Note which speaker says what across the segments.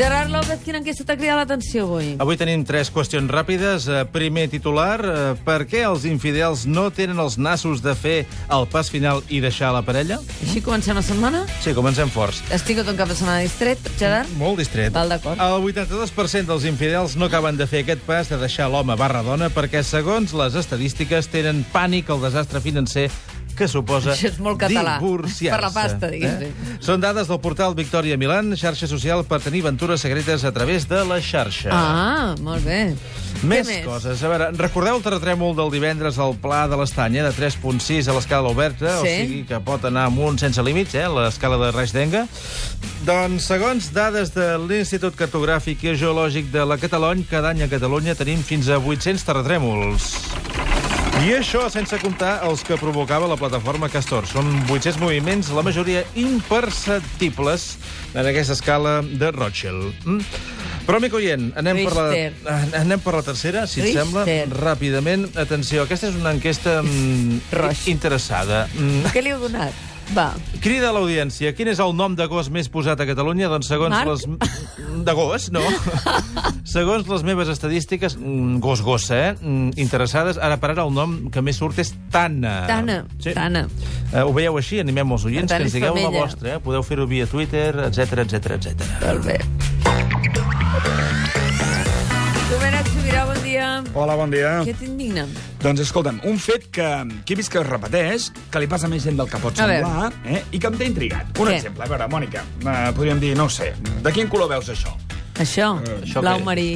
Speaker 1: Gerard López, quina enquesta t'ha cridat l'atenció avui?
Speaker 2: Avui tenim tres qüestions ràpides. Eh, Primer titular, eh, per què els infidels no tenen els nassos de fer el pas final i deixar la parella?
Speaker 1: Així comencem la setmana?
Speaker 2: Sí, comencem forts.
Speaker 1: Has tingut un cap de setmana distret, Gerard?
Speaker 2: Molt distret.
Speaker 1: Val, d'acord.
Speaker 2: El 82% dels infidels no acaben de fer aquest pas de deixar l'home barra dona perquè, segons les estadístiques, tenen pànic al desastre financer que suposa
Speaker 1: Això és molt català.
Speaker 2: divorciar-se. eh?
Speaker 1: Per la pasta, diguéssim.
Speaker 2: Són dades del portal Victòria Milan, xarxa social per tenir aventures secretes a través de la xarxa.
Speaker 1: Ah, molt bé.
Speaker 2: Més,
Speaker 1: Què més?
Speaker 2: coses. A veure, recordeu el terratrèmol del divendres al Pla de l'Estanya, de 3.6 a l'escala oberta, o
Speaker 1: Sí.
Speaker 2: sigui que pot anar amunt sense límits, eh, l'escala de Reisdenga. Doncs, segons dades de l'Institut Cartogràfic i Geològic de la Catalunya, cada any a Catalunya tenim fins a 800 terratrèmols. I això sense comptar els que provocava la plataforma Castor. Són 800 moviments, la majoria imperceptibles en aquesta escala de Rothschild. Mm? Però, amic oient, anem per,
Speaker 1: Richter.
Speaker 2: la, anem per la tercera, si et
Speaker 1: Richter.
Speaker 2: sembla. Ràpidament, atenció, aquesta és una enquesta mm,
Speaker 1: Roig.
Speaker 2: interessada. Mm,
Speaker 1: Què li heu donat? Va,
Speaker 2: Crida a l'audiència, quin és el nom de gos més posat a Catalunya? Doncs segons
Speaker 1: Marc?
Speaker 2: les... De gos, no. segons les meves estadístiques, mm, gos-gossa, eh? mm, Interessades, ara per ara el nom que més surt és Tana.
Speaker 1: Tana, Tana.
Speaker 2: Eh, ho veieu així? Animem els oients
Speaker 1: Per tant,
Speaker 2: que
Speaker 1: és
Speaker 2: ens digueu la
Speaker 1: femella.
Speaker 2: vostra. Eh? Podeu fer-ho via Twitter, etc etc etc.
Speaker 1: molt bé. Domènec Sobirà, bon dia.
Speaker 3: Hola, bon dia.
Speaker 1: Què t'indigna?
Speaker 3: Doncs escolta'm, un fet que, que he vist que es repeteix, que li passa a més gent del que pot
Speaker 1: A veure.
Speaker 3: semblar, eh, i que em té intrigat. Un
Speaker 1: Què?
Speaker 3: exemple, a veure, Mònica, eh, podríem dir, no ho sé, de quin color veus això?
Speaker 1: Això,
Speaker 2: Eh, això
Speaker 1: blau
Speaker 2: què?
Speaker 1: marí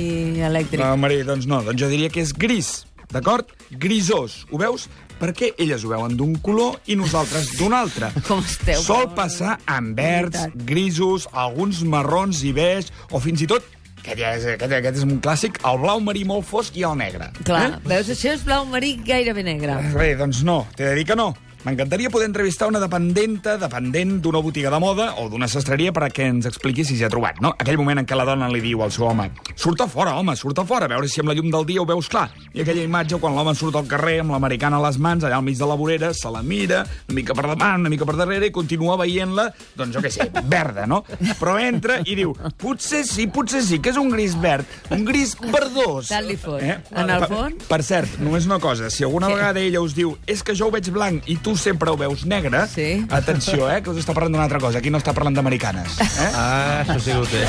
Speaker 1: elèctric.
Speaker 3: No, Maria, doncs no, doncs jo diria que és gris, d'acord? Grisós, ho veus? Perquè elles ho veuen d'un color i nosaltres d'un altre.
Speaker 1: Com esteu,
Speaker 3: Sol
Speaker 1: però,
Speaker 3: passar amb verds,
Speaker 1: veritat.
Speaker 3: grisos, alguns marrons i beix, o fins i tot, aquest, ja és, aquest, aquest és un clàssic, el blau marí molt fosc i el negre. eh?
Speaker 1: Clar,
Speaker 2: Eh?
Speaker 1: veus, això és blau marí gairebé negre.
Speaker 3: Bé, doncs no, t'he de dir que no. M'encantaria poder entrevistar una dependenta, dependent d'una botiga de moda o d'una sastreria perquè ens expliqui si s'hi ha trobat, no? Aquell moment en què la dona li diu al seu home surt a fora, home, surt a fora, a veure si amb la llum del dia ho veus clar. I aquella imatge quan l'home surt al carrer amb l'americana a les mans, allà al mig de la vorera, se la mira, una mica per davant, una mica per darrere, i continua veient-la, doncs jo què sé, verda, no? Però entra i diu, potser sí, potser sí, que és un gris verd, un gris verdós. Eh?
Speaker 1: Tant li fot. En el
Speaker 3: Per-
Speaker 1: fons?
Speaker 3: Per cert, només una cosa. Si alguna vegada ella us diu és que jo ho veig blanc i tu sempre ho veus negre,
Speaker 1: Sí.
Speaker 3: atenció, eh, que us està parlant d'una altra cosa. Aquí no està parlant d'americanes. Eh?
Speaker 2: Ah, això sí que ho té.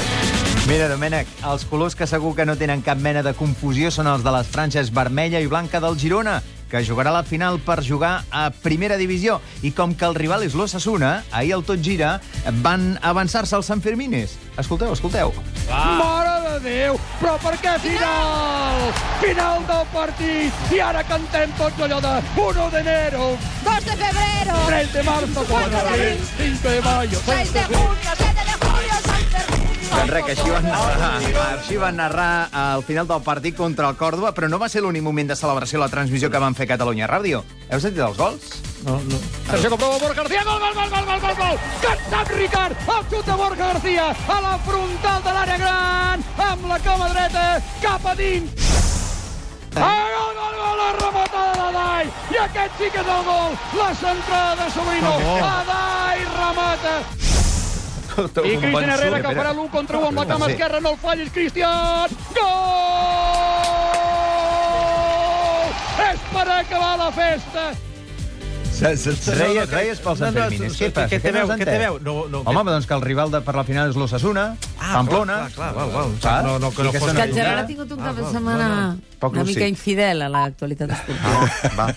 Speaker 4: Mira, Domènec, els colors que segur que no tenen cap mena de confusió són els de les franges vermella i blanca del Girona, que jugarà la final per jugar a primera divisió. I com que el rival és l'Ossassuna, ahir el tot gira, van avançar-se els Sanfermines. Escolteu, escolteu.
Speaker 5: Mare de Déu! Però per què final? Final del partit! I ara cantem tots allò de 1 de enero,
Speaker 6: 2 de febrero,
Speaker 5: 3 de marzo, 4 de abril, 5 de mayo,
Speaker 6: 6 de junio, 7 de julio, San
Speaker 4: Doncs res, que així van
Speaker 6: Fermín.
Speaker 4: narrar, així van narrar al final del partit contra el Còrdoba, però no va ser l'únic moment de celebració a la transmissió que van fer Catalunya Ràdio. Heu sentit els gols?
Speaker 2: No, no.
Speaker 5: Sergio comprova Borja García, gol, gol, gol, gol, gol, gol, gol! Cansat Ricard, el xut de Borja García a la frontal de l'àrea gran, amb la cama dreta, cap a dins. Ah, gol, gol, gol, la rematada d'Adai! I aquest sí que és el gol, la centrada de Sobrino. Adai remata, I Cristian Herrera que farà l'1 contra 1 amb la cama
Speaker 4: Sí.
Speaker 5: esquerra. No el fallis, Cristian! Gol! És per acabar la festa!
Speaker 4: Reies, reies pels
Speaker 2: No, no,
Speaker 4: Sanfermines.
Speaker 2: sí,
Speaker 4: Què
Speaker 2: sí,
Speaker 4: passa?
Speaker 2: què te
Speaker 4: no
Speaker 2: veu,
Speaker 4: has
Speaker 2: què te
Speaker 4: entès?
Speaker 2: veu? No, no, Ah,
Speaker 4: Home, doncs que el rival de per la final és l'Ossassuna, Pamplona.
Speaker 2: Clar, clar, val, val.
Speaker 4: Clar.
Speaker 2: No, no, que
Speaker 4: I
Speaker 2: no
Speaker 4: que
Speaker 2: fos
Speaker 4: són
Speaker 1: Que
Speaker 4: Una
Speaker 1: el Gerard
Speaker 2: Eh?
Speaker 4: mica-
Speaker 1: ha
Speaker 2: Ah,
Speaker 1: tingut un cap de setmana
Speaker 4: Poc
Speaker 1: una
Speaker 4: lúcid.
Speaker 1: mica infidel a l'actualitat esportiva.
Speaker 3: Va,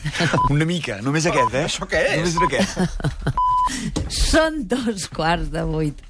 Speaker 3: una mica, només aquest, eh? Això què és? Només aquest.
Speaker 1: Són dos quarts de vuit.